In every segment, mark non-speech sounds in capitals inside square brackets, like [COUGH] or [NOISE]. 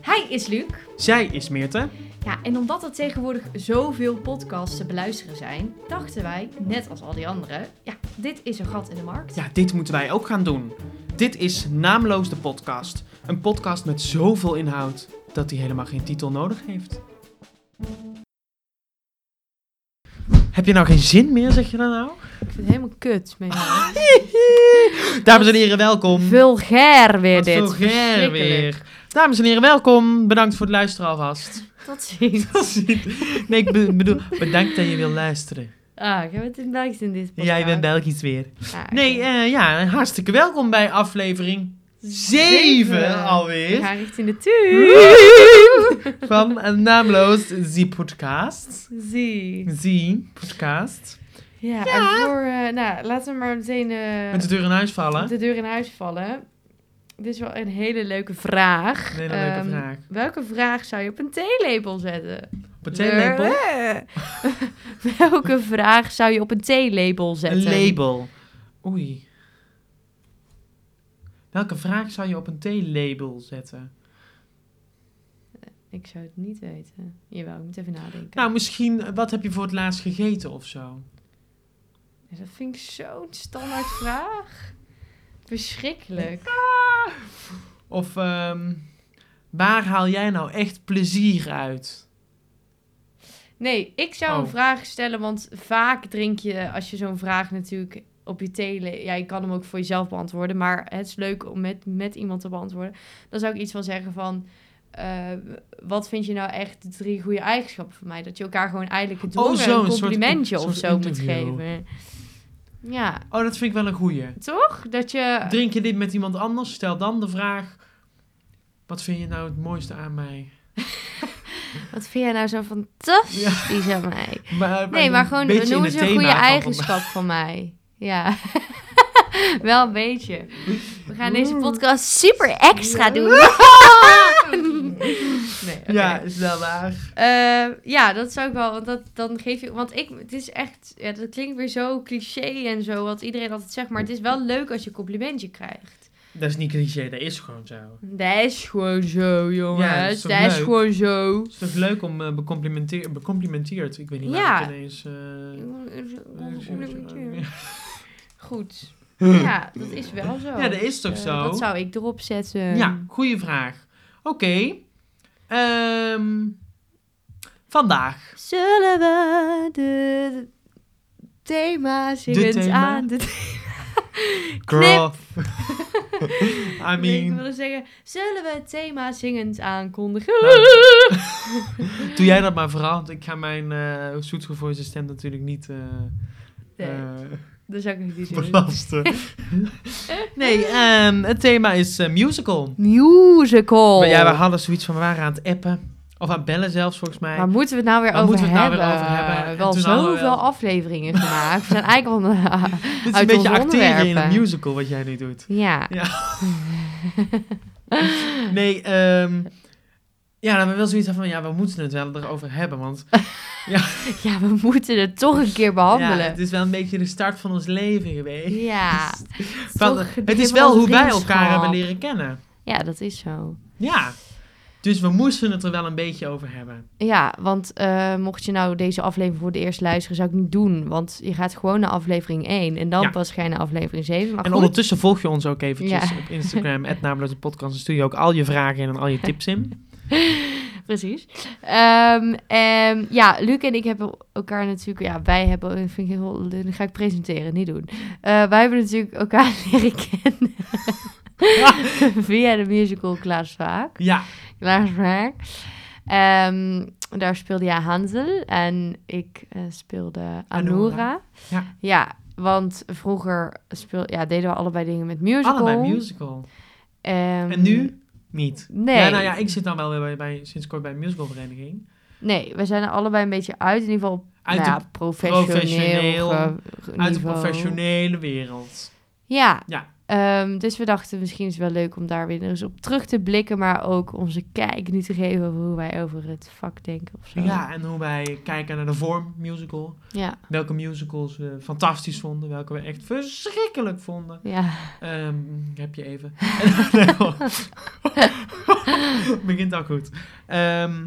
Hij is Luc. Zij is Meerte. Ja, en omdat er tegenwoordig zoveel podcasts te beluisteren zijn, dachten wij, net als al die anderen, ja, dit is een gat in de markt. Ja, dit moeten wij ook gaan doen. Dit is Naamloos de Podcast. Een podcast met zoveel inhoud dat hij helemaal geen titel nodig heeft. Heb je nou geen zin meer, zeg je dan nou? Ik vind het helemaal kut. Mee. Dames en heren, welkom. Vulgair weer Wat dit. vulgair Verschrikkelijk. weer. Dames en heren, welkom. Bedankt voor het luisteren [LAUGHS] alvast. Tot ziens. Nee, ik be- bedoel, bedankt dat je wil luisteren. Ah, ik heb het in Belgisch in dit podcast. Jij bent Belgisch weer. Ah, oké. Nee, eh, ja, hartstikke welkom bij aflevering 7 Zeven. We alweer. gaan richting de tuin. Woe! [LAUGHS] Van eh, naamloos Zie Podcast. Zie. Zie Podcast. Ja, en voor... eh, nou, laten we maar meteen eh, Met de deur in huis vallen. de deur in huis vallen. Dit is wel een hele leuke vraag. Een hele leuke Ehm, vraag. Welke vraag zou je op een theelepel zetten? Op een theelepel. [LAUGHS] welke vraag zou je op een theelepel Een zetten? label. Oei. Welke vraag zou je op een theelabel zetten? Ik zou het niet weten. Jawel, ik moet even nadenken. Nou, misschien, eh, wat heb je voor het laatst gegeten of zo? Ja, Dus Dat vind ik zo'n standaard vraag. Verschrikkelijk. Ah. Of ehm, waar haal jij nou echt plezier uit? Nee, ik zou Oh. een vraag stellen, want vaak drink je, als je zo'n vraag natuurlijk op je tele... Ja, je kan hem ook voor jezelf beantwoorden, maar het is leuk om met, met iemand te beantwoorden. Dan zou ik iets van zeggen van, eh, wat vind je nou echt de drie goede eigenschappen van mij? Dat je elkaar gewoon eigenlijk het Oh, horen, zo, een een soort- complimentje een of soort zo moet interview. geven. Ja, Oh, dat vind ik wel een goeie. toch? Dat je... Drink je dit met iemand anders? Stel dan de vraag: Wat vind je nou het mooiste aan mij? Wat vind jij nou zo fantastisch aan mij? Maar- Nee, maar gewoon beetje in noem het eens een thema goede van eigenschap van mij. Ja. [LAUGHS] Wel een beetje. We gaan deze podcast super extra [LAUGHS] doen. nee, vandaag. oké. Ja, is wel waar. Eh, ja, dat zou ik wel. Want dat, dan geef je. Want ik, het is echt. Ja, dat klinkt weer zo cliché en zo. Wat iedereen altijd zegt. Maar het is wel leuk als je een complimentje krijgt. Dat is niet cliché, dat is gewoon zo. Dat is gewoon zo, jongens. Ja, dat is dat toch is leuk? gewoon zo. Het is toch leuk om eh, becomplimenteer- becomplimenteerd. Ik weet niet waar Ja. ik ineens. eh, [LAUGHS] Goed. Ja, dat is wel zo. ja, dat is toch Eh, zo? Dat zou ik erop zetten. Ja, goede vraag. Oké. Ehm, vandaag. Zullen we de thema zingend thema? aan de Girl. [LAUGHS] I Nee, Ik mean. wilde zeggen, zullen we het thema zingend aankondigen? Nou, Doe jij dat maar vooral, want ik ga mijn eh zoetgevoelige stem natuurlijk niet eh Nee, [LAUGHS] eh, dat zou ik [LAUGHS] nog niet doen. belasten. nee, ehm, het thema is eh, musical. Oh. Musical. Maar ja, we hadden zoiets van, we waren aan het appen. Of aan het bellen zelfs, volgens mij. Waar moeten we het nou weer Waar over moeten we het nou hebben? weer over hebben? En Wel toen hadden we zoveel wel- afleveringen gemaakt. We zijn eigenlijk al... [LAUGHS] Dit is uit een beetje onze acteren in een onderwerpen. musical wat jij nu doet. ja. Nee, ehm ja, dan hebben we wel zoiets van, ja, we moeten het wel erover hebben. Want ja, we moeten het toch een keer ja, behandelen. het is wel een beetje de start van ons leven geweest. Ja. Van, Toch, het dit is [LAUGHS] wel onze hoe wij vriendschap. elkaar hebben leren kennen. Ja, dat is zo. Ja, dus we moesten het er wel een beetje over hebben. Ja, want eh, mocht je nou deze aflevering voor de eerst luisteren, zou ik niet doen. Want je gaat gewoon naar aflevering 1 en dan Ja. pas ga je naar aflevering 7. en Maar Ah, goed, ondertussen volg je ons ook eventjes Ja. op Instagram, namelijk de podcast. Dan stuur je ook al je vragen in en al je tips in. [LAUGHS] precies. Ehm, ehm, ja, Luc en ik hebben elkaar natuurlijk... Ja, wij hebben... Dat vind ik heel... Dat ga ik presenteren, niet doen. Eh, wij hebben natuurlijk elkaar [LAUGHS] leren [LAUGHS] kennen via de musical Klaas Vaak. Ja, Klaas Vaak. Ehm, daar speelde jij Hansel en ik eh, speelde Anura. Ja. want vroeger speel, ja, deden we allebei dingen met musical. allebei musical. Ehm, En nu? Niet. Nee, Ja, nou ja, ik zit dan wel weer bij, bij- sinds kort bij een musicalvereniging. nee, we zijn er allebei een beetje uit. In ieder geval Uit, nou ja, de, professioneel. professioneel- ge- uit de niveau. professionele wereld. Ja. Ja. Ehm, dus we dachten misschien is het wel leuk om daar weer eens op terug te blikken. Maar ook onze kijk nu te geven over hoe wij over het vak denken of zo. Ja, en hoe wij kijken naar de vorm musical. Ja. Welke musicals we fantastisch vonden, welke we echt verschrikkelijk vonden. ja. [LAUGHS] Ehm, heb je even. Begint al goed. Ehm,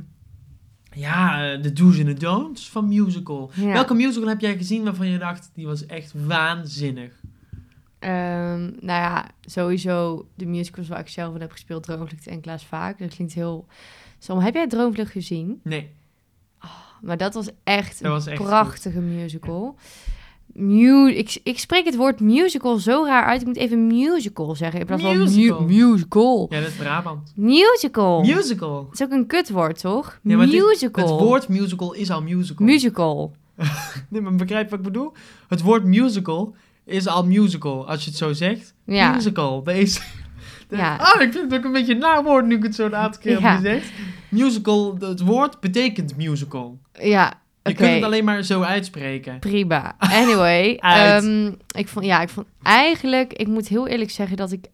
ja, eh, de do's en de don'ts van musical. Ja. Welke musical heb jij gezien waarvan je dacht, die was echt waanzinnig? Ehm, nou ja, sowieso de musicals waar ik zelf in heb gespeeld, Droomvlucht en Klaas Vaak. Dat klinkt heel... Som, heb jij Droomvlucht gezien? Nee, Maar dat was echt Dat was een echt goed. prachtige musical. Mu ik, ik spreek het woord musical zo raar uit. Ik moet even musical zeggen. In plaats van mu- Musical. musical. ja, dat is Brabant. Musical. Musical. dat is ook een kutwoord, toch? Ja, maar het is- musical. Het woord musical is al musical. Musical. nee, maar begrijp wat ik bedoel? Het woord musical is al musical, als je het zo zegt. Ja. Musical, dat [LAUGHS] is... Ja. Ah, ik vind het ook een beetje een naar woord nu ik het zo een aantal keer Ja. heb gezegd. Musical, het woord betekent musical. Ja, Je oké. kunt het alleen maar zo uitspreken. [LAUGHS] Prima. Anyway, Uit. ehm, ik vond, ja, ik vond eigenlijk, ik moet heel eerlijk zeggen dat ik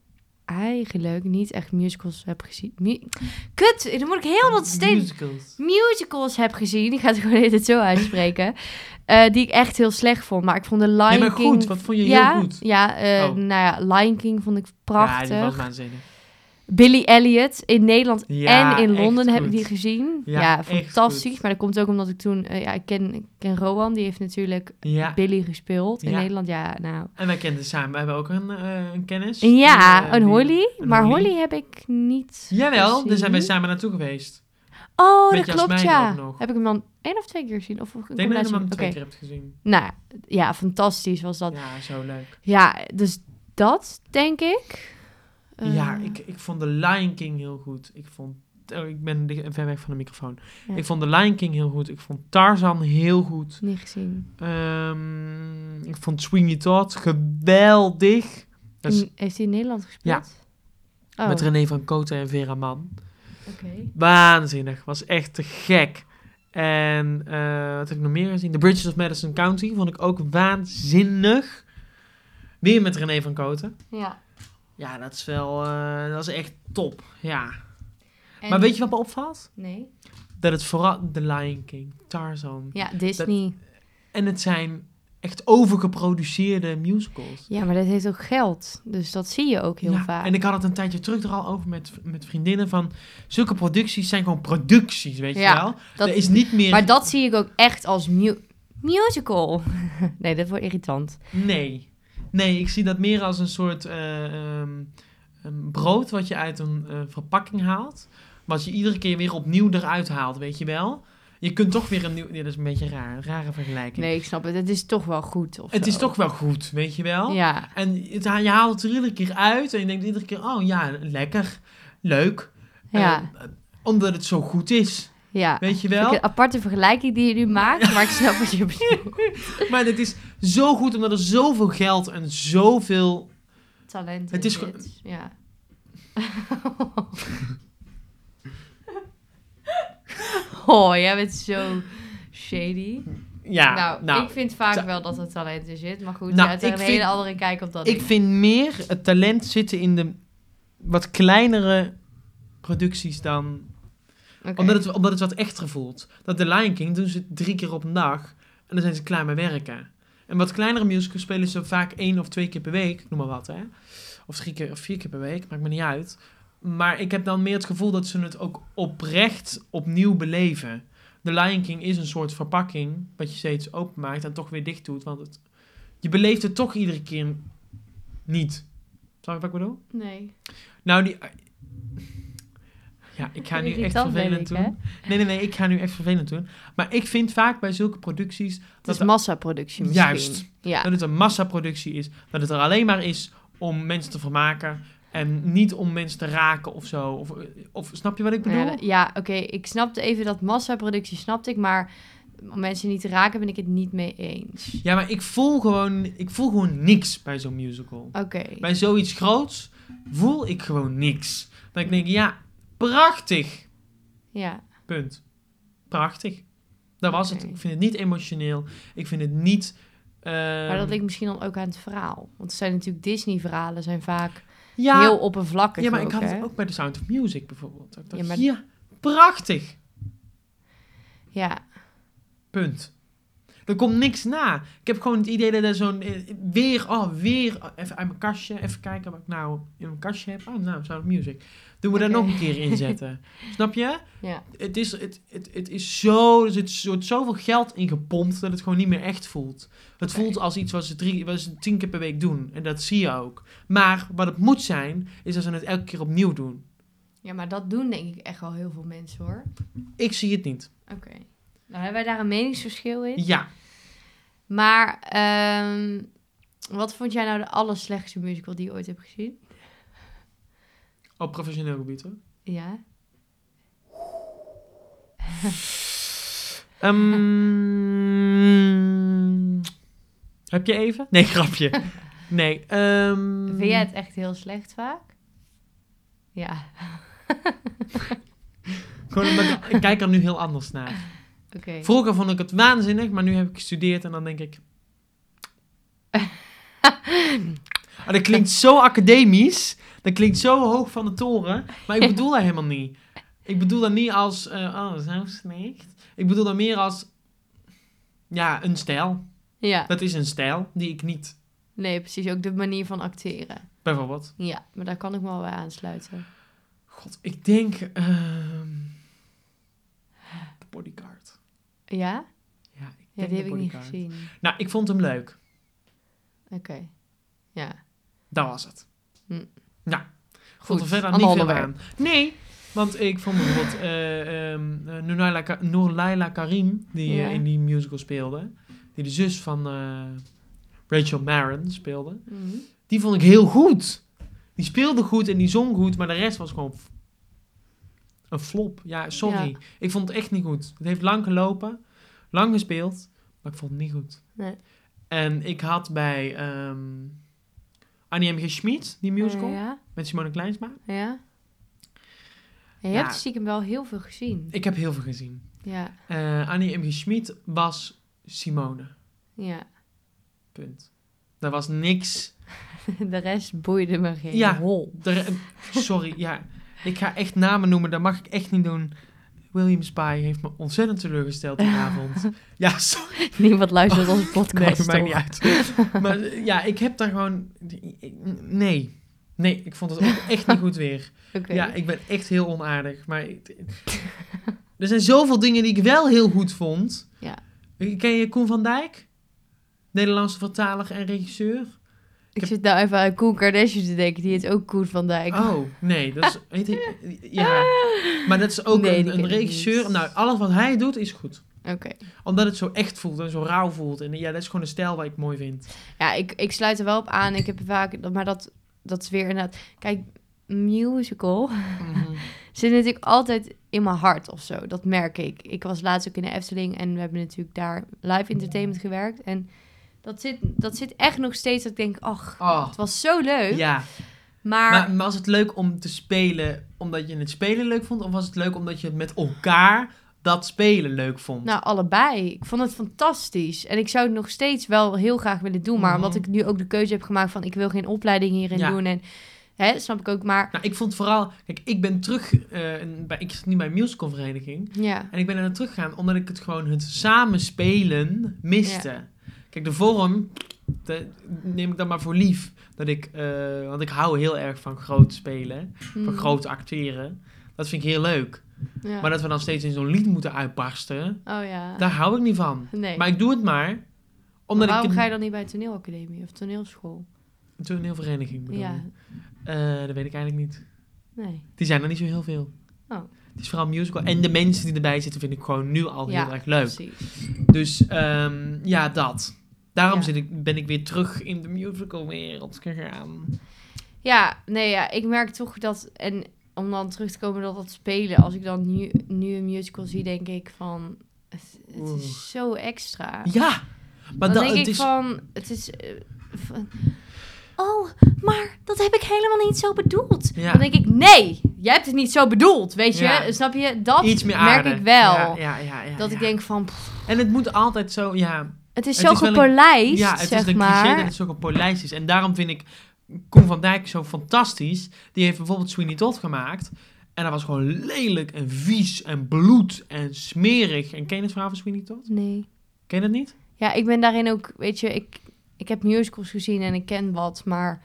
eigenlijk niet echt musicals heb gezien. Mu- Kut, dan moet ik heel dat steeds Musicals. musicals heb gezien. Ik ga het gewoon het zo uitspreken. [LAUGHS] eh, die ik echt heel slecht vond. Maar ik vond de Lion Nee, maar King... goed, wat vond je ja, heel goed? Ja, eh, Oh. nou ja, Lion King vond ik prachtig. Ja, die was waanzinnig. Billy Elliot in Nederland Ja, en in echt Londen heb ik goed. die gezien. Ja, Ja, echt fantastisch. goed. Maar dat komt ook omdat ik toen... eh, ja, ik ken, ik ken Rowan, die heeft natuurlijk Ja, Billy gespeeld in Ja. Nederland. Ja, nou... en wij kenden samen, we hebben ook een, eh, een kennis. Ja, Die, eh, een die- Holly. een maar Holly. Holly. heb ik niet Jawel, gezien. daar zijn wij samen naartoe geweest. Oh, Met dat klopt, Jasmijn ja. ook nog. Heb ik hem dan één of twee keer gezien? Of een Ik denk dat je hem al combinatie? Oké. twee keer hebt gezien. Nou, ja, fantastisch was dat. Ja, zo leuk. Ja, dus dat denk ik. Eh, ja, ik, ik vond The Lion King heel goed. Ik vond... Oh, ik ben di- ver weg van de microfoon. Ja. Ik vond The Lion King heel goed. Ik vond Tarzan heel goed. Niet gezien. Ehm, ik vond Sweeney Todd geweldig. Dat is In- heeft hij in Nederland gespeeld? Ja. Mm, Oh, Met René van Koten en Vera Mann. oké. Waanzinnig. Was echt te gek. En eh, wat heb ik nog meer gezien? The Bridges of Madison County vond ik ook waanzinnig. Weer met René van Koten. Ja. Ja, dat is wel... eh, dat is echt top. Ja. En- Maar weet je wat me opvalt? Nee. Dat het vooral... The Lion King, Tarzan. Ja, Disney. En het zijn echt overgeproduceerde musicals. Ja, maar dat heeft ook geld. Dus dat zie je ook heel Ja, vaak. En ik had het een tijdje terug er al over met, met vriendinnen van... Zulke producties zijn gewoon producties, weet Ja, je wel? dat- er is niet meer... Maar dat zie ik ook echt als mu- musical. [LAUGHS] nee, dat wordt irritant. Nee. Nee, ik zie dat meer als een soort eh, ehm, een brood wat je uit een eh, verpakking haalt. Wat je iedere keer weer opnieuw eruit haalt, weet je wel? Je kunt toch weer een nieuw... Ja, dat is een beetje raar. Een rare vergelijking. Nee, ik snap het. Het is toch wel goed. Of het zo. is toch wel goed, weet je wel? Ja. En het, ha- je haalt het er iedere keer uit en je denkt iedere keer... Oh ja, lekker. Leuk. Ja. Eh, eh, omdat het zo goed is, ja. weet je Vind wel? ik een aparte vergelijking die je nu maakt, maar ik snap [LAUGHS] wat je bedoelt. Maar het is zo goed omdat er zoveel geld en zoveel Talent. Het in is ge- zit. Ja. [LAUGHS] oh, jij bent zo shady. Ja, nou, nou, ik vind vaak ta- wel dat er talent in zit, maar goed, Nou, ja, het is ik een vind- hele andere kijk op dat. ik vind meer het talent zitten in de wat kleinere producties dan... Oké. Omdat, het, omdat het wat echter voelt. Dat The Lion King doen ze drie keer op een dag en dan zijn ze klaar met werken. En wat kleinere musicals spelen ze vaak één of twee keer per week, ik noem maar wat hè. Of drie keer of vier keer per week, maakt me niet uit. Maar ik heb dan meer het gevoel dat ze het ook oprecht opnieuw beleven. The Lion King is een soort verpakking, wat je steeds openmaakt en toch weer dicht doet. Want het, je beleeft het toch iedere keer niet. Snap je wat ik bedoel? Nee. Nou, die... Ja, ik ga nu echt Irritant ben vervelend ik, doen. hè? Nee, nee, nee, ik ga nu echt vervelend doen. Maar ik vind vaak bij zulke producties Het is de- massaproductie misschien. Juist. Ja. dat het een massaproductie is. Dat het er alleen maar is om mensen te vermaken. En niet om mensen te raken of zo. Of, eh, of snap je wat ik bedoel? Ja, ja, oké. Ik snapte even dat massaproductie, snapte ik. Maar om mensen niet te raken, ben ik het niet mee eens. Ja, maar ik voel gewoon, ik voel gewoon niks bij zo'n musical. Oké. Bij zoiets groots voel ik gewoon niks. Dat ik denk, ja, prachtig. Ja. Punt. Prachtig. Dat was het. Oké. Ik vind het niet emotioneel. Ik vind het niet... ehm, Maar dat ligt misschien dan ook aan het verhaal. Want het zijn natuurlijk Disney-verhalen, zijn vaak ja, heel oppervlakkig. Ja, maar ik ook, had hè? het ook bij The Sound of Music bijvoorbeeld. Dat ik dacht, Ja, ja, maar- prachtig. Ja. Punt. Er komt niks na. Ik heb gewoon het idee dat er zo'n... eh, Weer, oh, weer. oh, Even uit mijn kastje. Even kijken wat ik nou in mijn kastje heb. Oh, nou, Sound of Music. Doen we daar Oké. nog een keer in [LAUGHS] zetten. Snap je? Ja. Het is, het, het, het is zo... Er zit, zo- zoveel geld in gepompt dat het gewoon niet meer echt voelt. Het Oké. voelt als iets wat ze, drie, wat ze tien keer per week doen. En dat zie je ook. Maar wat het moet zijn, is dat ze het elke keer opnieuw doen. ja, maar dat doen denk ik echt wel heel veel mensen hoor. Ik zie het niet. Oké. Nou hebben wij daar een meningsverschil in. Ja. Maar ehm, wat vond jij nou de allerslechtste musical die je ooit hebt gezien? Op professioneel gebied, hoor. Ja. Ehm, heb je even? Nee, [LAUGHS] grapje. Nee. ehm, Vind jij het echt heel slecht vaak? Ja. gewoon omdat ik, ik kijk er nu heel anders naar. Oké. Vroeger vond ik het waanzinnig, maar nu heb ik gestudeerd en dan denk [LAUGHS] ik... Ah, dat klinkt zo academisch. Dat klinkt zo hoog van de toren. Maar ik bedoel dat helemaal niet. Ik bedoel dat niet als... eh, oh, zo slecht. Ik bedoel dat meer als... Ja, een stijl. Ja. Dat is een stijl die ik niet... Nee, precies. Ook de manier van acteren. Bijvoorbeeld... Ja, maar daar kan ik me wel bij aansluiten. God, ik denk. ehm, de bodyguard. Ja? Ja, ik Ja, denk die de heb ik niet Bodyguard. gezien. Nou, ik vond hem leuk. Oké. Ja. Dat was het. Hm. Nou, ik vond er Goed, verder ander niet veel aan. onderwerp. Nee, want ik vond bijvoorbeeld eh ehm, eh, Noorlaila Ka- Noorlaila Karim, die eh, Ja. in die musical speelde. Die de zus van eh, Rachel Marin speelde. Mhm. Die vond ik heel goed. Die speelde goed en die zong goed, maar de rest was gewoon f- een flop. Ja, sorry. Ja. Ik vond het echt niet goed. Het heeft lang gelopen, lang gespeeld, maar ik vond het niet goed. Nee. En ik had bij ehm Annie M. G. Schmid, die musical, Eh, ja. met Simone Kleinsma. Ja. En je Ja. hebt stiekem wel heel veel gezien. Ik heb heel veel gezien. Ja. Eh Annie M. G. Schmid was Simone. Ja. [LAUGHS] Punt. Daar was niks. De rest boeide me geen Ja. hol. Er- sorry, ja. Ik ga echt namen noemen, dat mag ik echt niet doen. William Spy heeft me ontzettend teleurgesteld [LAUGHS] vanavond. Ja, sorry. Niemand luistert [LAUGHS] onze Nee, podcast. maakt toch? niet uit. Maar eh, ja, ik heb daar gewoon... Nee. Nee, ik vond het [LAUGHS] ook echt niet goed weer. Oké. Ja, ik ben echt heel onaardig. Maar ik- er zijn zoveel dingen die ik wel heel goed vond. Ja. Ken je Koen van Dijk? Nederlandse vertaler en regisseur? Ik zit nou even aan Koen Kardashian te denken. Die heet ook Koen van Dijk. Oh, nee, dat [LAUGHS] is... heet hij- ja, maar dat is ook Nee, die een, ken een ik niet. regisseur. Nou, alles wat hij doet is goed. Oké. Omdat het zo echt voelt en zo rauw voelt. En ja, dat is gewoon een stijl wat ik mooi vind. Ja, ik, ik sluit er wel op aan. Ik heb vaak... dat- Maar dat, dat is weer inderdaad... Kijk, musical Mhm. zit natuurlijk altijd in mijn hart of zo. Dat merk ik. Ik was laatst ook in de Efteling. En we hebben natuurlijk daar live entertainment gewerkt. En dat zit, dat zit echt nog steeds. Dat ik denk, ach, Oh, het was zo leuk. ja. Maar, Maar, maar was het leuk om te spelen omdat je het spelen leuk vond? Of was het leuk omdat je het met elkaar dat spelen leuk vond? Nou, allebei. Ik vond het fantastisch. En ik zou het nog steeds wel heel graag willen doen. Maar Mhm. omdat ik nu ook de keuze heb gemaakt van... ik wil geen opleiding hierin Ja. doen. En hè, snap ik ook. Maar Nou, ik vond vooral... Kijk, ik ben terug... eh, in- bij, ik zit nu bij een musicalvereniging. ja, En ik ben er naartoe gegaan omdat ik het gewoon het samenspelen miste. Kijk, de vorm de- neem ik dan maar voor lief. Dat ik, eh, want ik hou heel erg van groot spelen, van Mm. groot acteren. Dat vind ik heel leuk. Ja. Maar dat we dan steeds in zo'n lied moeten uitbarsten, Oh ja. daar hou ik niet van. nee. Maar ik doe het maar Maar omdat waarom ik ga je een dan niet bij een toneelacademie of toneelschool? toneelvereniging bedoel. Ja, Eh, dat weet ik eigenlijk niet. nee. Die zijn er niet zo heel veel. Oh. Het is vooral musical. En de mensen die erbij zitten vind ik gewoon nu al Ja, heel erg leuk. Precies. Dus ehm, ja, dat. Daarom Ja. zit ik, ben ik weer terug in de musicalwereld gegaan. Ja, nee, ja, ik merk toch dat... En om dan terug te komen dat dat spelen... als ik dan nu, nu een musical zie, denk ik van... Het, het Oeh. is zo extra. Ja, maar dan dat denk het ik is. van, het is... eh, van, oh, maar dat heb ik helemaal niet zo bedoeld. Ja. Dan denk ik, nee, jij hebt het niet zo bedoeld, weet je. Ja. Snap je? Dat Iets meer merk aarde. ik wel. Ja, ja, ja, ja, dat ja. ik denk van, pff, En het moet altijd zo. Ja, het is Het zo is wel een- gepolijst, ja het zeg is een cliché dat maar. het zo gepolijst is. En daarom vind ik Koen van Dijk zo fantastisch. Die heeft bijvoorbeeld Sweeney Todd gemaakt. En dat was gewoon lelijk en vies en bloed en smerig. En ken je het verhaal van Sweeney Todd? Nee. Ken je dat niet? Ja, ik ben daarin ook, weet je, ik, ik heb musicals gezien en ik ken wat, maar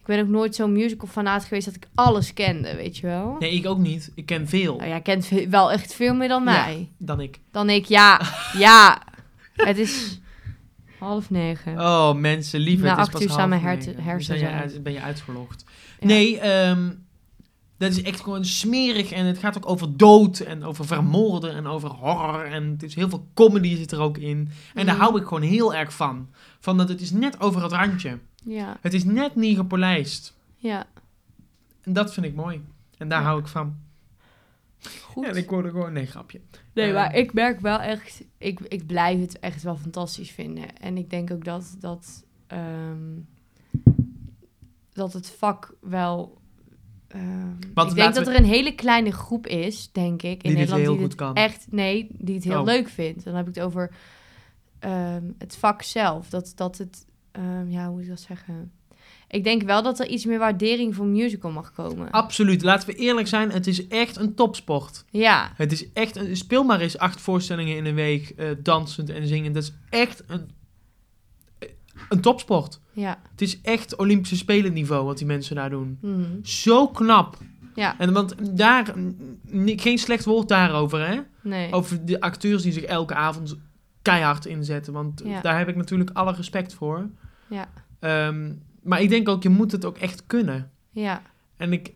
ik ben ook nooit zo'n musical fanaat geweest dat ik alles kende, weet je wel. Nee, ik ook niet. Ik ken veel Nou, jij kent ve- wel echt veel meer dan Ja. mij. dan ik. Dan ik, [LAUGHS] ja, ja. Het is half negen. Oh, mensen, liever. Na het is acht pas uur half staan mijn negen. herte- hersenen Ben je, uit. uit- ben je uitverlocht. Ja. Nee, ehm, dat is echt gewoon smerig. En het gaat ook over dood en over vermoorden en over horror. En het is heel veel comedy zit er ook in. En daar Mm. hou ik gewoon heel erg van. Van dat het is net over het randje. Ja, Het is net niet gepolijst. ja. En dat vind ik mooi. En daar Ja. hou ik van. Goed. En ik word er gewoon... Nee, grapje. Nee, Eh, maar ik merk wel echt, ik, ik blijf het echt wel fantastisch vinden. En ik denk ook dat, dat, ehm, dat het vak wel. ehm, ik denk laten dat we- er een hele kleine groep is, denk ik, in Die dit Nederland heel die goed dit kan. echt, nee, die het heel Oh. leuk vindt. Dan heb ik het over ehm, het vak zelf. Dat, dat het, ehm, ja, hoe moet ik dat zeggen? Ik denk wel dat er iets meer waardering voor musical mag komen. Absoluut. Laten we eerlijk zijn. Het is echt een topsport. ja, Het is echt... Een, speel maar eens acht voorstellingen in een week. eh, dansend en zingend. Dat is echt een, een topsport. ja. Het is echt Olympische Spelen niveau wat die mensen daar doen. mhm, Zo knap. Ja. En want daar... n- n- Geen slecht woord daarover, hè? nee. Over de acteurs die zich elke avond keihard inzetten. Want Ja. daar heb ik natuurlijk alle respect voor. Ja. Ehm, maar ik denk ook, je moet het ook echt kunnen. Ja. En ik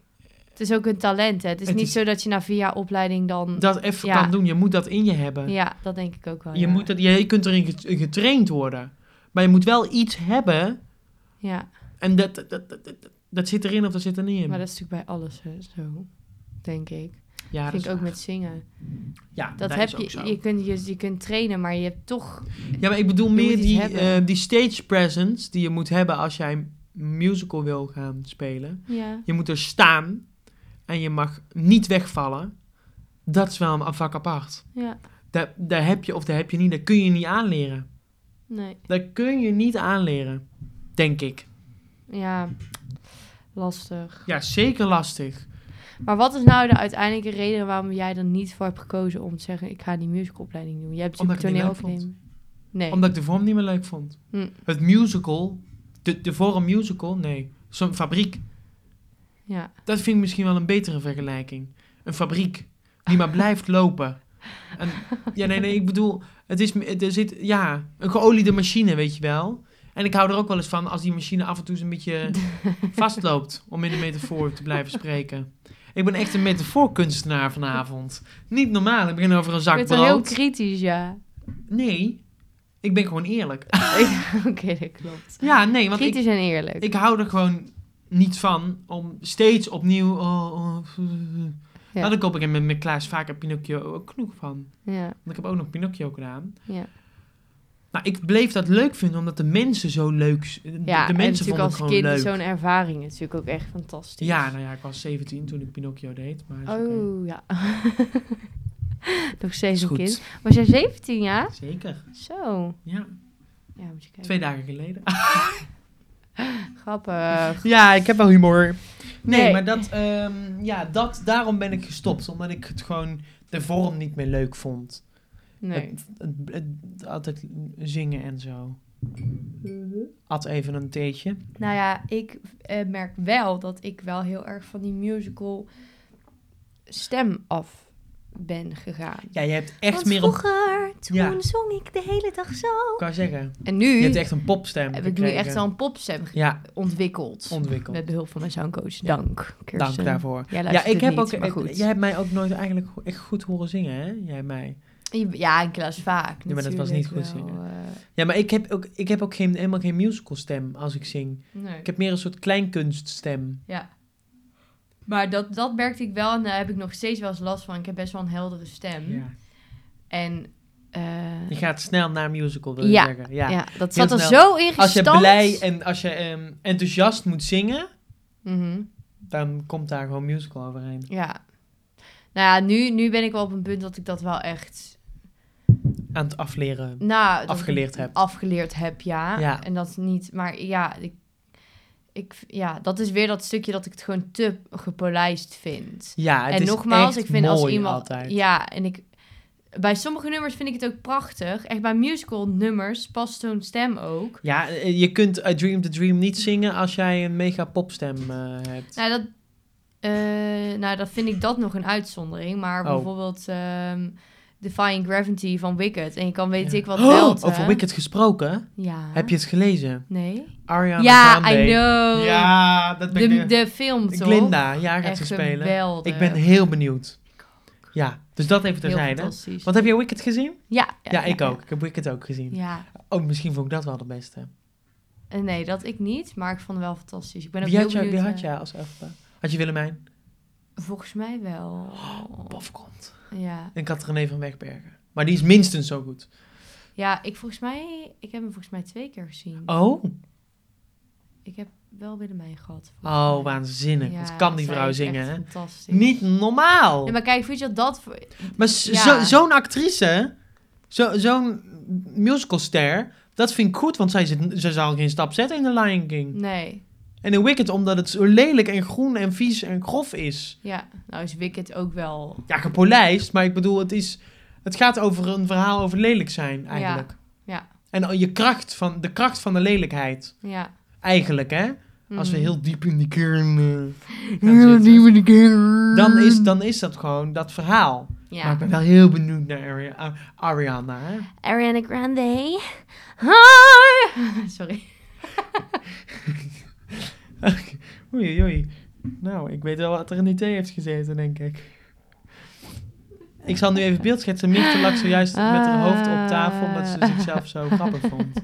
Het is ook een talent, hè. Het is Het niet is- zo dat je na vier jaar opleiding dan... dat even Ja. kan doen. Je moet dat in je hebben. Ja, dat denk ik ook wel, Je, ja. moet dat, je kunt erin get- getraind worden. Maar je moet wel iets hebben. Ja, En dat, dat, dat, dat, dat- dat zit erin of dat zit er niet in. maar dat is natuurlijk bij alles hè, zo, denk ik. ja, vind ik is ook waar. met zingen. Ja, Dat is heb ook je, zo. je kunt, je, je kunt trainen, maar je hebt toch... Ja, maar ik bedoel Je meer moet iets die, hebben. eh, die stage presence die je moet hebben als jij een musical wil gaan spelen. Ja, Je moet er staan en je mag niet wegvallen. Dat is wel een vak apart. ja, Dat, dat heb je of dat heb je niet. Dat kun je niet aanleren. nee, Dat kun je niet aanleren, denk ik. ja, lastig. Ja, zeker lastig. Maar wat is nou de uiteindelijke reden waarom jij er niet voor hebt gekozen om te zeggen... ik ga die musicalopleiding doen? Je hebt Omdat natuurlijk ik het niet toneelopleiding. Nee, Omdat ik de vorm niet meer leuk vond. Hm. Het musical, de, de vorm musical, nee. Zo'n fabriek, ja, dat vind ik misschien wel een betere vergelijking. Een fabriek die maar blijft lopen. En, ja, nee, nee, ik bedoel, het is, het- er zit, ja, een geoliede machine, weet je wel. En ik hou er ook wel eens van als die machine af en toe eens een beetje [LAUGHS] vastloopt, om in de metafoor te blijven spreken. Ik ben echt een metafoorkunstenaar vanavond. Niet normaal, ik begin over een ik zak ben wel heel brood. kritisch, ja. [LAUGHS] Nee, ik ben gewoon eerlijk. Oké, dat klopt. Ja, nee, want ik, kritisch en eerlijk. ik hou er gewoon niet van om steeds opnieuw... Oh, oh, Ja. Nou, dan koop ik met, met Klaas vaak een Pinocchio ook genoeg van. ja, Want ik heb ook nog Pinocchio gedaan. ja. Nou, ik bleef dat leuk vinden omdat de mensen zo leuk... s- De, Ja, de mensen en natuurlijk vonden het als gewoon kind leuk. is zo'n ervaring natuurlijk ook echt fantastisch. Ja, nou ja, ik was 17 toen ik Pinocchio deed. Maar is oké. Oh, ja. [LAUGHS] Nog steeds Is een goed. kind. Was jij 17, ja? Zeker, Zo. ja. Ja, moet je kijken. Twee dagen geleden. [LAUGHS] [LAUGHS] Grappig. Ja, ik heb wel humor. Nee, Nee. maar dat, ehm, ja, dat, daarom ben ik gestopt. Omdat ik het gewoon de vorm niet meer leuk vond. Nee. Het, het, het- altijd zingen en zo. At even een theetje. Nou ja, ik eh, merk wel dat ik wel heel erg van die musical stem af ben gegaan. Ja, je hebt echt Want meer een... vroeger, toen Ja. zong ik de hele dag zo. Ik wou zeggen, En je nu hebt echt een popstem heb ik nu gekregen. echt wel een popstem ge- Ja, ontwikkeld. ontwikkeld. Met behulp van mijn soundcoach. Ja. Dank, Dank Kirsten. daarvoor. Jij Ja, ik heb ook... maar goed. Jij hebt mij ook nooit eigenlijk go- echt goed horen zingen, hè? Jij mij. Ja, in klas vaak. Ja, maar dat was natuurlijk niet goed wel, eh, Ja, maar ik heb ook, ik heb ook geen, helemaal geen musicalstem als ik zing. eh, nee. Ik heb meer een soort kleinkunststem. Ja. Maar dat, dat merkte ik wel en daar heb ik nog steeds wel eens last van. Ik heb best wel een heldere stem. Ja. En eh, Je gaat snel naar een musical, wil je Ja, zeggen. Ja. ja. dat zat er snel. zo in Als je gestampt. blij en als je ehm, enthousiast moet zingen, Mhm, dan komt daar gewoon musical overheen. Ja. Nou ja, nu, nu ben ik wel op een punt dat ik dat wel echt... Aan het afleren. Nou, dat ik Afgeleerd hebt. Afgeleerd heb, ja. Ja. En dat niet... Maar ja, ik, ik, ja, dat is weer dat stukje dat ik het gewoon te gepolijst vind. Ja, het en is nogmaals, echt ik vind als mooi iemand. altijd. Ja, en ik. bij sommige nummers vind ik het ook prachtig. Echt bij musical nummers past zo'n stem ook. Ja, eh, je kunt I Dream the Dream niet zingen als jij een mega popstem eh, hebt. Nou, dat, eh, nou, dat vind ik dat nog een uitzondering. Maar Oh. bijvoorbeeld ehm Defying Gravity van Wicked. En je kan weet Ja. ik wat Oh, wel. Over Wicked gesproken, Ja. heb je het gelezen? Nee? Ariana Ja, Grande. I know. Ja, dat ben De, ik. de film, toch? Glinda, ja, gaat Echt ze spelen. geweldig. Ik ben heel benieuwd. Ja, dus dat even Heel terzijde. fantastisch. Want heb je Wicked gezien? Ja, Ja, ik ook. Ik heb Wicked ook gezien. Ja. Oh, misschien vond ik dat wel de beste. Eh, Nee, dat ik niet, maar ik vond het wel fantastisch. Ik ben ook Wie heel had, jij, benieuwd, wie had eh, jij als elfde? Had je Willemijn? Volgens mij wel. Oh. Bof komt. Ja. En ik had René van Wegbergen. Maar die is minstens zo goed. ja, ik volgens mij, ik heb hem volgens mij twee keer gezien. Oh, Ik heb wel Willemijn gehad. volgens oh mij. waanzinnig. Wat Ja, kan die zij vrouw is echt zingen, hè? Fantastisch. Niet normaal. Nee, maar kijk, vind je dat dat... voor- Maar s- Ja. zo- zo'n actrice, zo- zo'n musicalster, dat vind ik goed, want zij, zit, zij zal geen stap zetten in The Lion King. Nee. En in Wicked, omdat het zo lelijk en groen en vies en grof is. Ja, nou is Wicked ook wel... Ja, gepolijst, maar ik bedoel, het, is, het gaat over een verhaal over lelijk zijn, eigenlijk. ja. En je kracht van, de kracht van de lelijkheid, Ja. eigenlijk, hè? Als we Mhm. heel diep in die kern eh, gaan zitten, in de kern. dan is, dan is dat gewoon dat verhaal. Maar Ja. ik ben wel heel benieuwd naar Ari- A- Ariana, hè? Ariana Grande. Hi! [LAUGHS] Sorry. Oei, oei. Nou, ik weet wel wat er in die thee heeft gezeten, denk ik. Ik zal nu even beeld schetsen. Mirte lag zojuist met haar hoofd op tafel, omdat ze zichzelf [LAUGHS] zo grappig vond.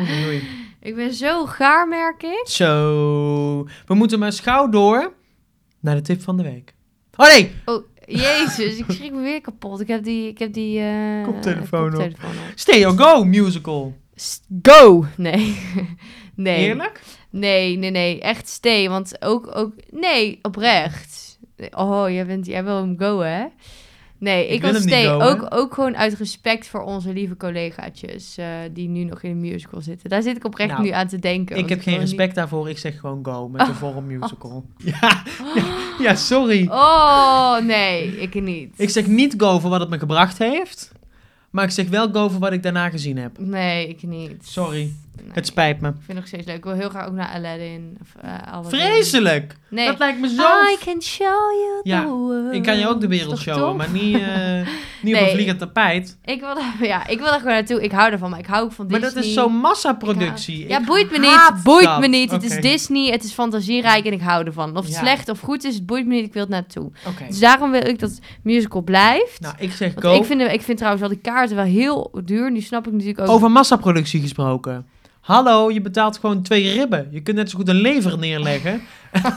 Oei, oei. Ik ben zo gaar, merk ik. [LAUGHS] Zo, we moeten maar schouw door naar de tip van de week. Oh nee, Oh, jezus, ik schrik me weer kapot. Ik heb die, ik heb die eh, Koptelefoon op. koptelefoon op. Stay or Go musical. S- Go! Nee. [LAUGHS] nee. Eerlijk? Nee, nee, nee. Echt stay. Want ook, ook... Nee, oprecht. Oh, jij, bent, jij wil hem go, hè? Nee, ik, wil wil hem niet stay. go, hè? ook, ook gewoon uit respect voor onze lieve collegaatjes... eh, die nu nog in de musical zitten. Daar zit ik oprecht Nou, nu aan te Ik denken. want heb geen wil niet- respect daarvoor, ik zeg gewoon go met de [LAUGHS] vorm musical. Ja, ja, ja, sorry. Oh, nee. Ik niet. Ik zeg niet go voor wat het me gebracht heeft, maar ik zeg wel go voor wat ik daarna gezien heb. Nee, ik niet. Sorry, Nee. het spijt me. Ik vind het nog steeds leuk. Ik wil heel graag ook naar Aladdin. Of, eh, Aladdin. Vreselijk! Nee. Ah, Dat lijkt me I zo... can show you Ja, the world. Ik kan je ook de wereld Oh, eh, Toch showen, tof? maar niet, [LAUGHS] eh, niet op Nee. een vliegend tapijt. Ik wil, daar- ja, ik wil daar gewoon naartoe. Ik hou ervan, maar ik hou ook van Maar Disney. dat is zo'n massaproductie. Ja, Ik boeit me haat niet. Boeit dat. me niet. Het is Oké. Disney. Het is fantasierijk en ik hou ervan. Of het Ja. slecht of goed is, het boeit me niet. Ik wil het naartoe. Oké, Dus daarom wil ik dat het musical blijft. nou ik zeg Want go. ik, vind, ik vind trouwens al die kaarten wel heel duur. Nu snap ik natuurlijk ook... Over massaproductie gesproken. Hallo, je betaalt gewoon twee ribben. Je kunt net zo goed een lever neerleggen. [LAUGHS]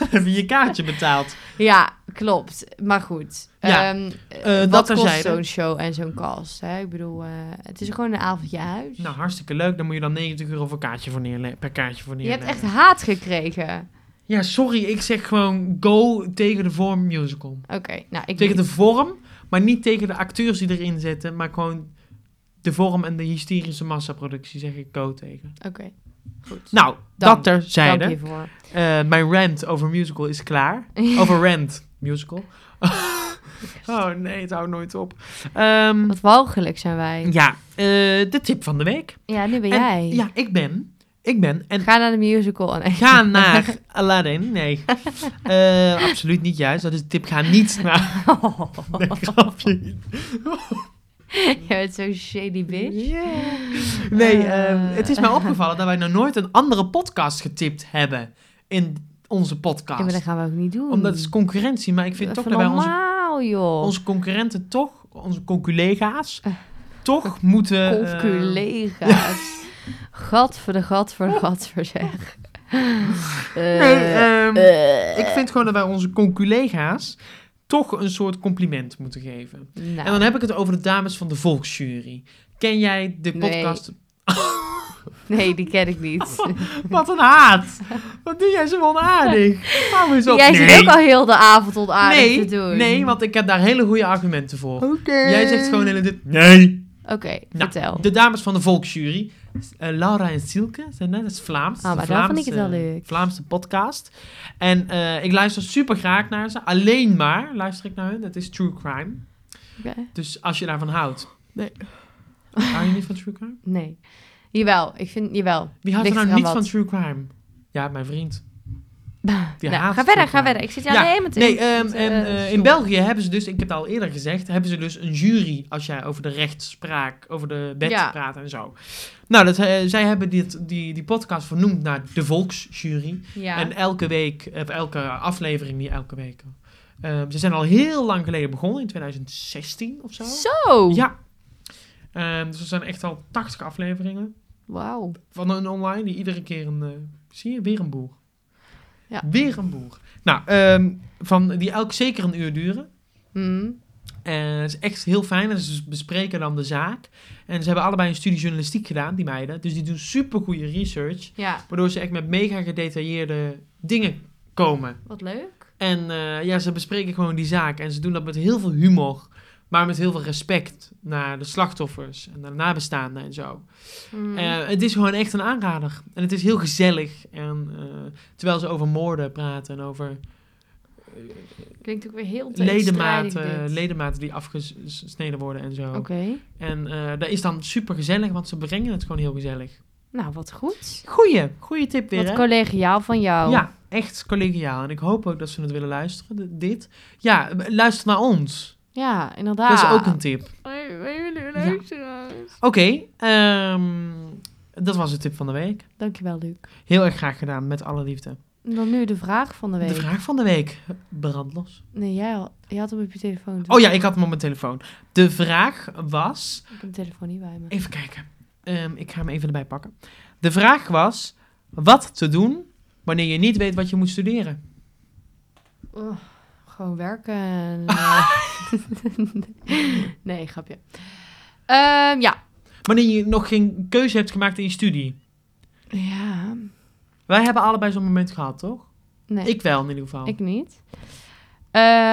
Dan heb je je kaartje betaald. Ja, klopt. Maar goed. Ja, Ehm, eh, dat wat kost terzijde. zo'n show en zo'n cast? Hè? Ik bedoel, eh, het is gewoon een avondje huis. Nou, hartstikke leuk. Dan moet je dan 90 euro voor kaartje voor neerle- per kaartje voor je hebt neerleggen. echt haat gekregen. Ja, sorry. Ik zeg gewoon go tegen de vorm musical. Oké, nou ik Tegen de niet. vorm, maar niet tegen de acteurs die erin zitten. Maar gewoon de vorm en de hysterische massaproductie zeg ik go tegen. Oké, goed. Nou, dat Dank. terzijde. Dank hiervoor. Eh, mijn rant over musical is [LAUGHS] klaar. Over rant musical. oh nee, het houdt nooit op. Ehm, Wat walgelijk zijn wij. ja, eh, de tip van de week. Ja, nu ben En- jij. Ja, ik ben. Ik ben. En Ga naar de musical. en- [LAUGHS] ga naar Aladdin. Nee, Eh, absoluut niet juist. Dat is de tip. Ga niet [LAUGHS] naar... Nee, grapje. Je bent zo'n shady bitch. Yeah. Nee, Eh. ehm, het is mij opgevallen dat wij nog nooit een andere podcast getipt hebben in onze Ja, maar dat podcast. gaan we ook niet doen. Omdat het is concurrentie, maar ik vind toch dat wij onze Normaal, joh. onze concurrenten toch, onze conculega's, toch moeten... eh, Eh, oh, [LAUGHS] Conculega's. gat voor de gat voor de gat voor zeg. Eh, nee, ehm, eh, ik vind gewoon dat wij onze conculega's toch een soort compliment moeten geven. nou, En dan heb ik het over de dames van de Volksjury. Ken jij de Nee. podcast? Nee, die ken ik [LAUGHS] niet. Wat een haat! Wat doe jij zo onaardig? Hou eens op. Jij nee. zit ook al heel de avond onaardig nee, te doen. nee, want ik heb daar hele goede argumenten voor. Oké. Jij zegt gewoon in dit. Nee. Oké, Nou, vertel. De dames van de Volksjury. eh, Laura en Silke zijn net, dat is Vlaams. Ah, maar de daar Vlaamse, vond ik het wel leuk. Vlaamse podcast. En eh, ik luister super graag naar ze. Alleen maar luister ik naar hun. Dat is True Crime. Oké. Dus als je daarvan houdt. Nee. Hou je niet van true crime? Nee. Jawel, ik vind, jawel. Wie houdt er nou Ligt niet van eraan wat. true crime? Ja, mijn [LAUGHS] vriend. Die Nou, haat ga verder, true ga crime. verder. Ik zit jou Ja, helemaal te Nee, ehm, het, en, eh, eh, in stom. België hebben ze dus, ik heb het al eerder gezegd, hebben ze dus een jury als jij over de rechtspraak, over de wet Ja. praat en zo. Nou, dat, eh, zij hebben dit, die, die podcast vernoemd naar de Volksjury. Ja. En elke week, of elke aflevering, niet elke week. eh, ze zijn al heel lang geleden begonnen, in 2016 of zo. Zo! Ja. Ehm, dus er zijn echt al 80 afleveringen Wauw. van een online die iedere keer een... eh, zie je, weer een boer. Ja. Weer een boer. Nou, ehm, van, die elk zeker een uur duren. Hm. En het is echt heel fijn. En ze bespreken dan de zaak. En ze hebben allebei een studie journalistiek gedaan, die meiden. Dus die doen super goede research. Ja, Waardoor ze echt met mega gedetailleerde dingen komen. wat leuk. En eh, ja, ze bespreken gewoon die zaak. En ze doen dat met heel veel humor. Maar met heel veel respect naar de slachtoffers en naar de nabestaanden en zo. Hm. Eh, het is gewoon echt een aanrader. En het is heel gezellig. En, eh, terwijl ze over moorden praten en over Klinkt ook weer heel tegenstrijdig ledematen, eh, dit. ledematen die afgesneden worden en zo. Oké. En eh dat is dan super gezellig, want ze brengen het gewoon heel gezellig. Nou, wat goed. Goeie, goede tip weer. Wat hè? collegiaal van jou. Ja, echt collegiaal. En ik hoop ook dat ze het willen luisteren, d- dit. Ja, m- luister naar ons. Ja, inderdaad. Dat is ook een tip. Wij- wij willen luisteraars. Oké, ehm, dat was de tip van de week. Dankjewel, Luc. Heel erg graag gedaan, met alle liefde. Dan nu de vraag van de week. De vraag van de week, brandlos. Nee, jij, al, jij had hem op je telefoon. toch? Oh ja, ik had hem op mijn telefoon. De vraag was... Ik heb mijn telefoon niet bij me. Even kijken. Ehm, ik ga hem even erbij pakken. De vraag was: wat te doen wanneer je niet weet wat je moet studeren? Oh, gewoon werken. [LAUGHS] en, eh, [LAUGHS] nee, grapje. Ehm, ja. Wanneer je nog geen keuze hebt gemaakt in je studie. Ja. Wij hebben allebei zo'n moment gehad, toch? Nee, ik, Ik wel in ieder geval. niet.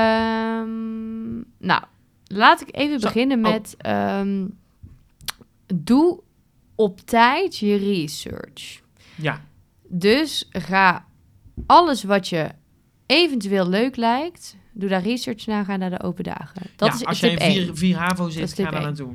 Ehm, nou, laat ik even Zo, beginnen oh. met... ehm, doe op tijd je research. Ja. Dus ga alles wat je eventueel leuk lijkt, doe daar research naar, ga naar de open dagen. Dat Ja, is als tip je in 1. vier, vier HAVO Dat is zit, tip ga daar één. naartoe.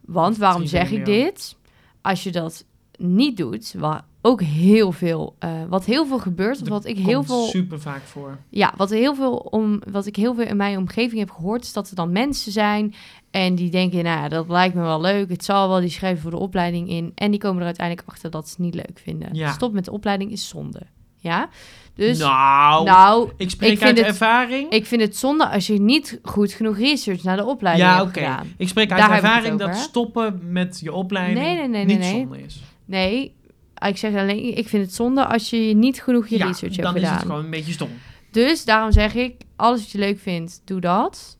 Want waarom Misschien zeg ben ik je meer. dit? Als je dat niet doet, wat ook heel veel, eh, wat heel veel gebeurt, of Dat wat ik heel Komt veel, super vaak voor. ja, wat heel veel om, wat ik heel veel in mijn omgeving heb gehoord, is dat er dan mensen zijn en die denken, nou, ja, dat lijkt me wel leuk, het zal wel, die schrijven voor de opleiding in en die komen er uiteindelijk achter dat ze het niet leuk vinden. Ja. Stop met de opleiding is zonde, ja. Dus nou, nou, ik spreek ik uit vind het- ervaring. ik vind het zonde als je niet goed genoeg research naar de opleiding ja, hebt oké. gedaan. Ik spreek uit Daar heb ik het ervaring over, dat hè? stoppen met je opleiding Nee, nee, nee, nee, niet nee. zonde is. Nee, ah, ik zeg alleen, ik vind het zonde als je niet genoeg je ja, research hebt dan is het gedaan. gewoon een beetje stom. Dus daarom zeg ik, alles wat je leuk vindt, doe dat.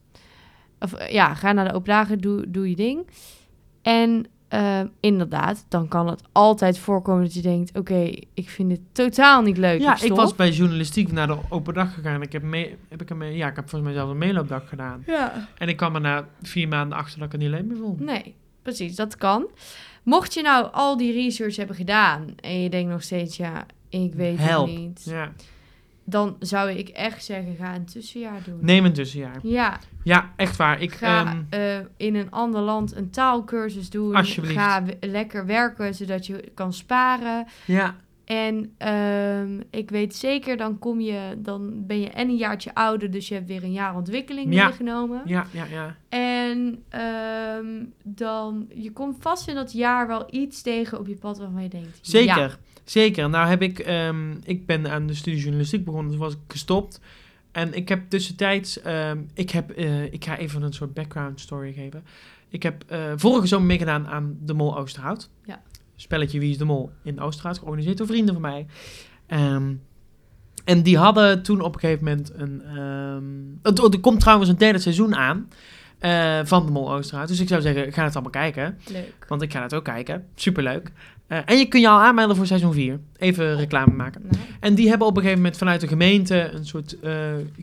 Of eh, ja, ga naar de open dagen, doe, doe je ding. En eh, inderdaad, dan kan het altijd voorkomen dat je denkt, oké, ik vind dit totaal niet leuk. Ja, ik stop. was bij journalistiek naar de open dag gegaan. Ik heb, mee, heb ik een mee, ja, ik heb volgens mij zelf een meeloopdag gedaan. Ja. En ik kwam er na vier maanden achter dat ik het niet leuk meer vond. Nee, precies, dat kan. Mocht je nou al die research hebben gedaan en je denkt nog steeds, ja, ik weet Help. het niet. Ja. Dan zou ik echt zeggen, ga een tussenjaar doen. Neem een tussenjaar. Ja, Ja, echt waar. Ik, ga ehm, eh, in een ander land een taalkursus doen. Alsjeblieft. Ga w- lekker werken, zodat je kan sparen. ja, En ehm, ik weet zeker, dan, kom je, dan ben je en een jaartje ouder, dus je hebt weer een jaar ontwikkeling Ja. meegenomen. ja, ja, ja. En ehm, dan, je komt vast in dat jaar wel iets tegen op je pad waarvan je denkt... Zeker. ja, Zeker. Nou heb ik, ehm, ik ben aan de studie journalistiek begonnen, dus was ik gestopt. En ik heb tussentijds, ehm, ik, heb, eh, ik ga even een soort background story geven. Ik heb eh, vorige zomer meegedaan aan De Mol Oosterhout. Ja. Spelletje Wie is de Mol in Oosterhout, georganiseerd door vrienden van mij. Ehm, en die hadden toen op een gegeven moment een... ehm, het- er komt trouwens een derde seizoen aan eh, van De Mol Oosterhout. Dus ik zou zeggen, ga het allemaal kijken. leuk. Want ik ga dat ook kijken. Superleuk. Eh, en je kun je al aanmelden voor seizoen 4. Even reclame maken. Nou, En die hebben op een gegeven moment vanuit de gemeente een soort eh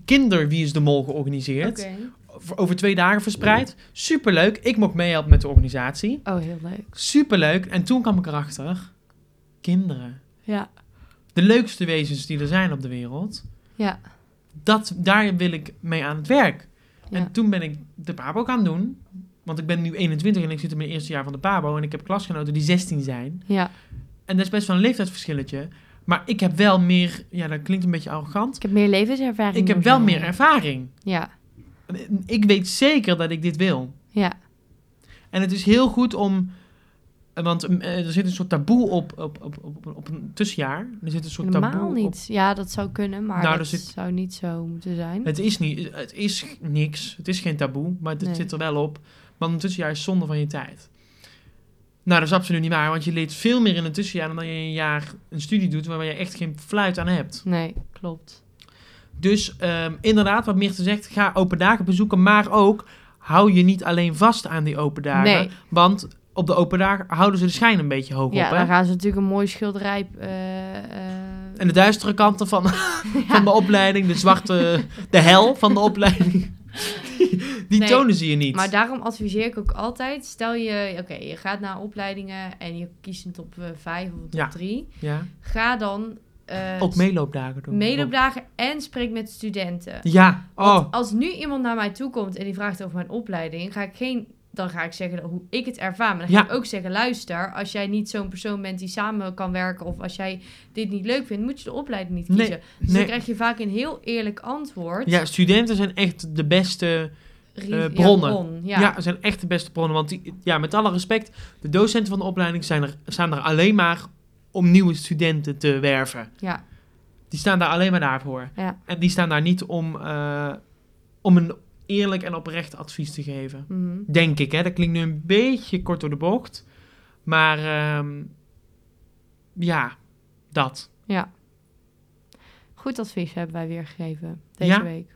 kinder Wie is de Mol georganiseerd. oké. Voor- Over twee dagen verspreid. Superleuk. Ik mocht meehelpen met de organisatie. Oh, heel leuk. Superleuk. En toen kwam ik erachter. Kinderen. Ja, De leukste wezens die er zijn op de wereld. ja, Dat, daar wil ik mee aan het werk. Ja. En toen ben ik de Pabo gaan doen. Want ik ben nu 21 en ik zit in mijn eerste jaar van de Pabo. En ik heb klasgenoten die 16 zijn. Ja, En dat is best wel een leeftijdsverschilletje. Maar ik heb wel meer, ja, dat klinkt een beetje arrogant. ik heb meer levenservaring. Ik heb wel doorgegaan. meer ervaring. Ja, Ik weet zeker dat ik dit wil. ja, En het is heel goed om. eh, Want eh, er zit een soort taboe op, op, op, op, op een tussenjaar. Er zit een soort taboe normaal op- niet. Ja, dat zou kunnen, maar Nou, dat er zit- zou niet zo moeten zijn. Het is, niet, het is niks. Het is geen taboe, maar het Nee. zit er wel op. Want een tussenjaar is zonde van je tijd. Nou, dat is absoluut niet waar, want je leert veel meer in een tussenjaar dan dat je in een jaar een studie doet waarbij je echt geen fluit aan hebt. Nee, klopt. Dus ehm, inderdaad, wat Meerte zegt, ga open dagen bezoeken, maar ook hou je niet alleen vast aan die open dagen. Nee, Want op de open dagen houden ze de schijn een beetje hoog ja, op. Hè? dan gaan ze natuurlijk een mooi schilderij... eh, eh, En de duistere kanten [LAUGHS] van, van de opleiding, de zwarte, de hel van de opleiding, die, die Nee, tonen ze je niet. Maar daarom adviseer ik ook altijd: stel je, oké, je gaat naar opleidingen en je kiest een top 5 of een Ja. top 3. ja. Ga dan eh Ook meeloopdagen doen. meeloopdagen en spreek met studenten. Ja, Want oh, als nu iemand naar mij toe komt en die vraagt over mijn opleiding, ga ik geen. Dan ga ik zeggen hoe ik het ervaar. Maar dan ga Ja. ik ook zeggen: luister, als jij niet zo'n persoon bent die samen kan werken. of als jij dit niet leuk vindt, moet je de opleiding niet Nee, kiezen. dus dan nee. krijg je vaak een heel eerlijk antwoord. ja, studenten zijn echt de beste. Rie- eh, bronnen. Ja, bron, Ja, ja. ja. zijn echt de beste bronnen. Want die, ja, met alle respect, de docenten van de opleiding zijn er, staan er alleen maar om nieuwe studenten te werven. Ja. Die staan daar alleen maar daarvoor. Ja. En die staan daar niet om, eh, om een eerlijk en oprecht advies te geven. Mhm. Denk ik, hè. Dat klinkt nu een beetje kort door de bocht. Maar ehm, ja, dat. Goed advies hebben wij weer gegeven deze Ja? week.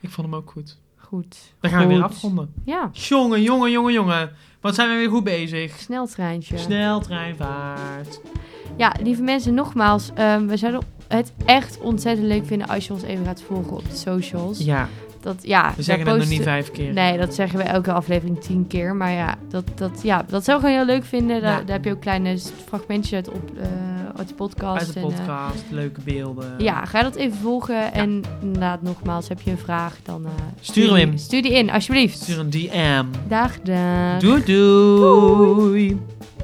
Ik vond hem ook goed. Goed. Dan gaan we weer Goed. afronden. Ja, Jongen, jongen, jongen, jongen. Wat zijn we weer goed bezig. sneltreintje. Snel treinvaart. Ja, lieve mensen, nogmaals. ehm, we zouden het echt ontzettend leuk vinden als je ons even gaat volgen op de socials. Ja, Dat, ja, we zeggen daar het nog posten- niet vijf keer. Nee, dat zeggen we elke aflevering tien keer. Maar ja, dat, dat, ja, dat zou ik gewoon heel leuk vinden. Daar, Ja. daar heb je ook kleine s- fragmentjes uit, op, eh, uit de podcast. Uit de en, eh, podcast, leuke beelden. ja, ga dat even volgen. En inderdaad, nogmaals, heb je een vraag, dan... eh, Stuur hem in. Stuur die in, alsjeblieft. Stuur een DM. Dag, dag. Doei doei.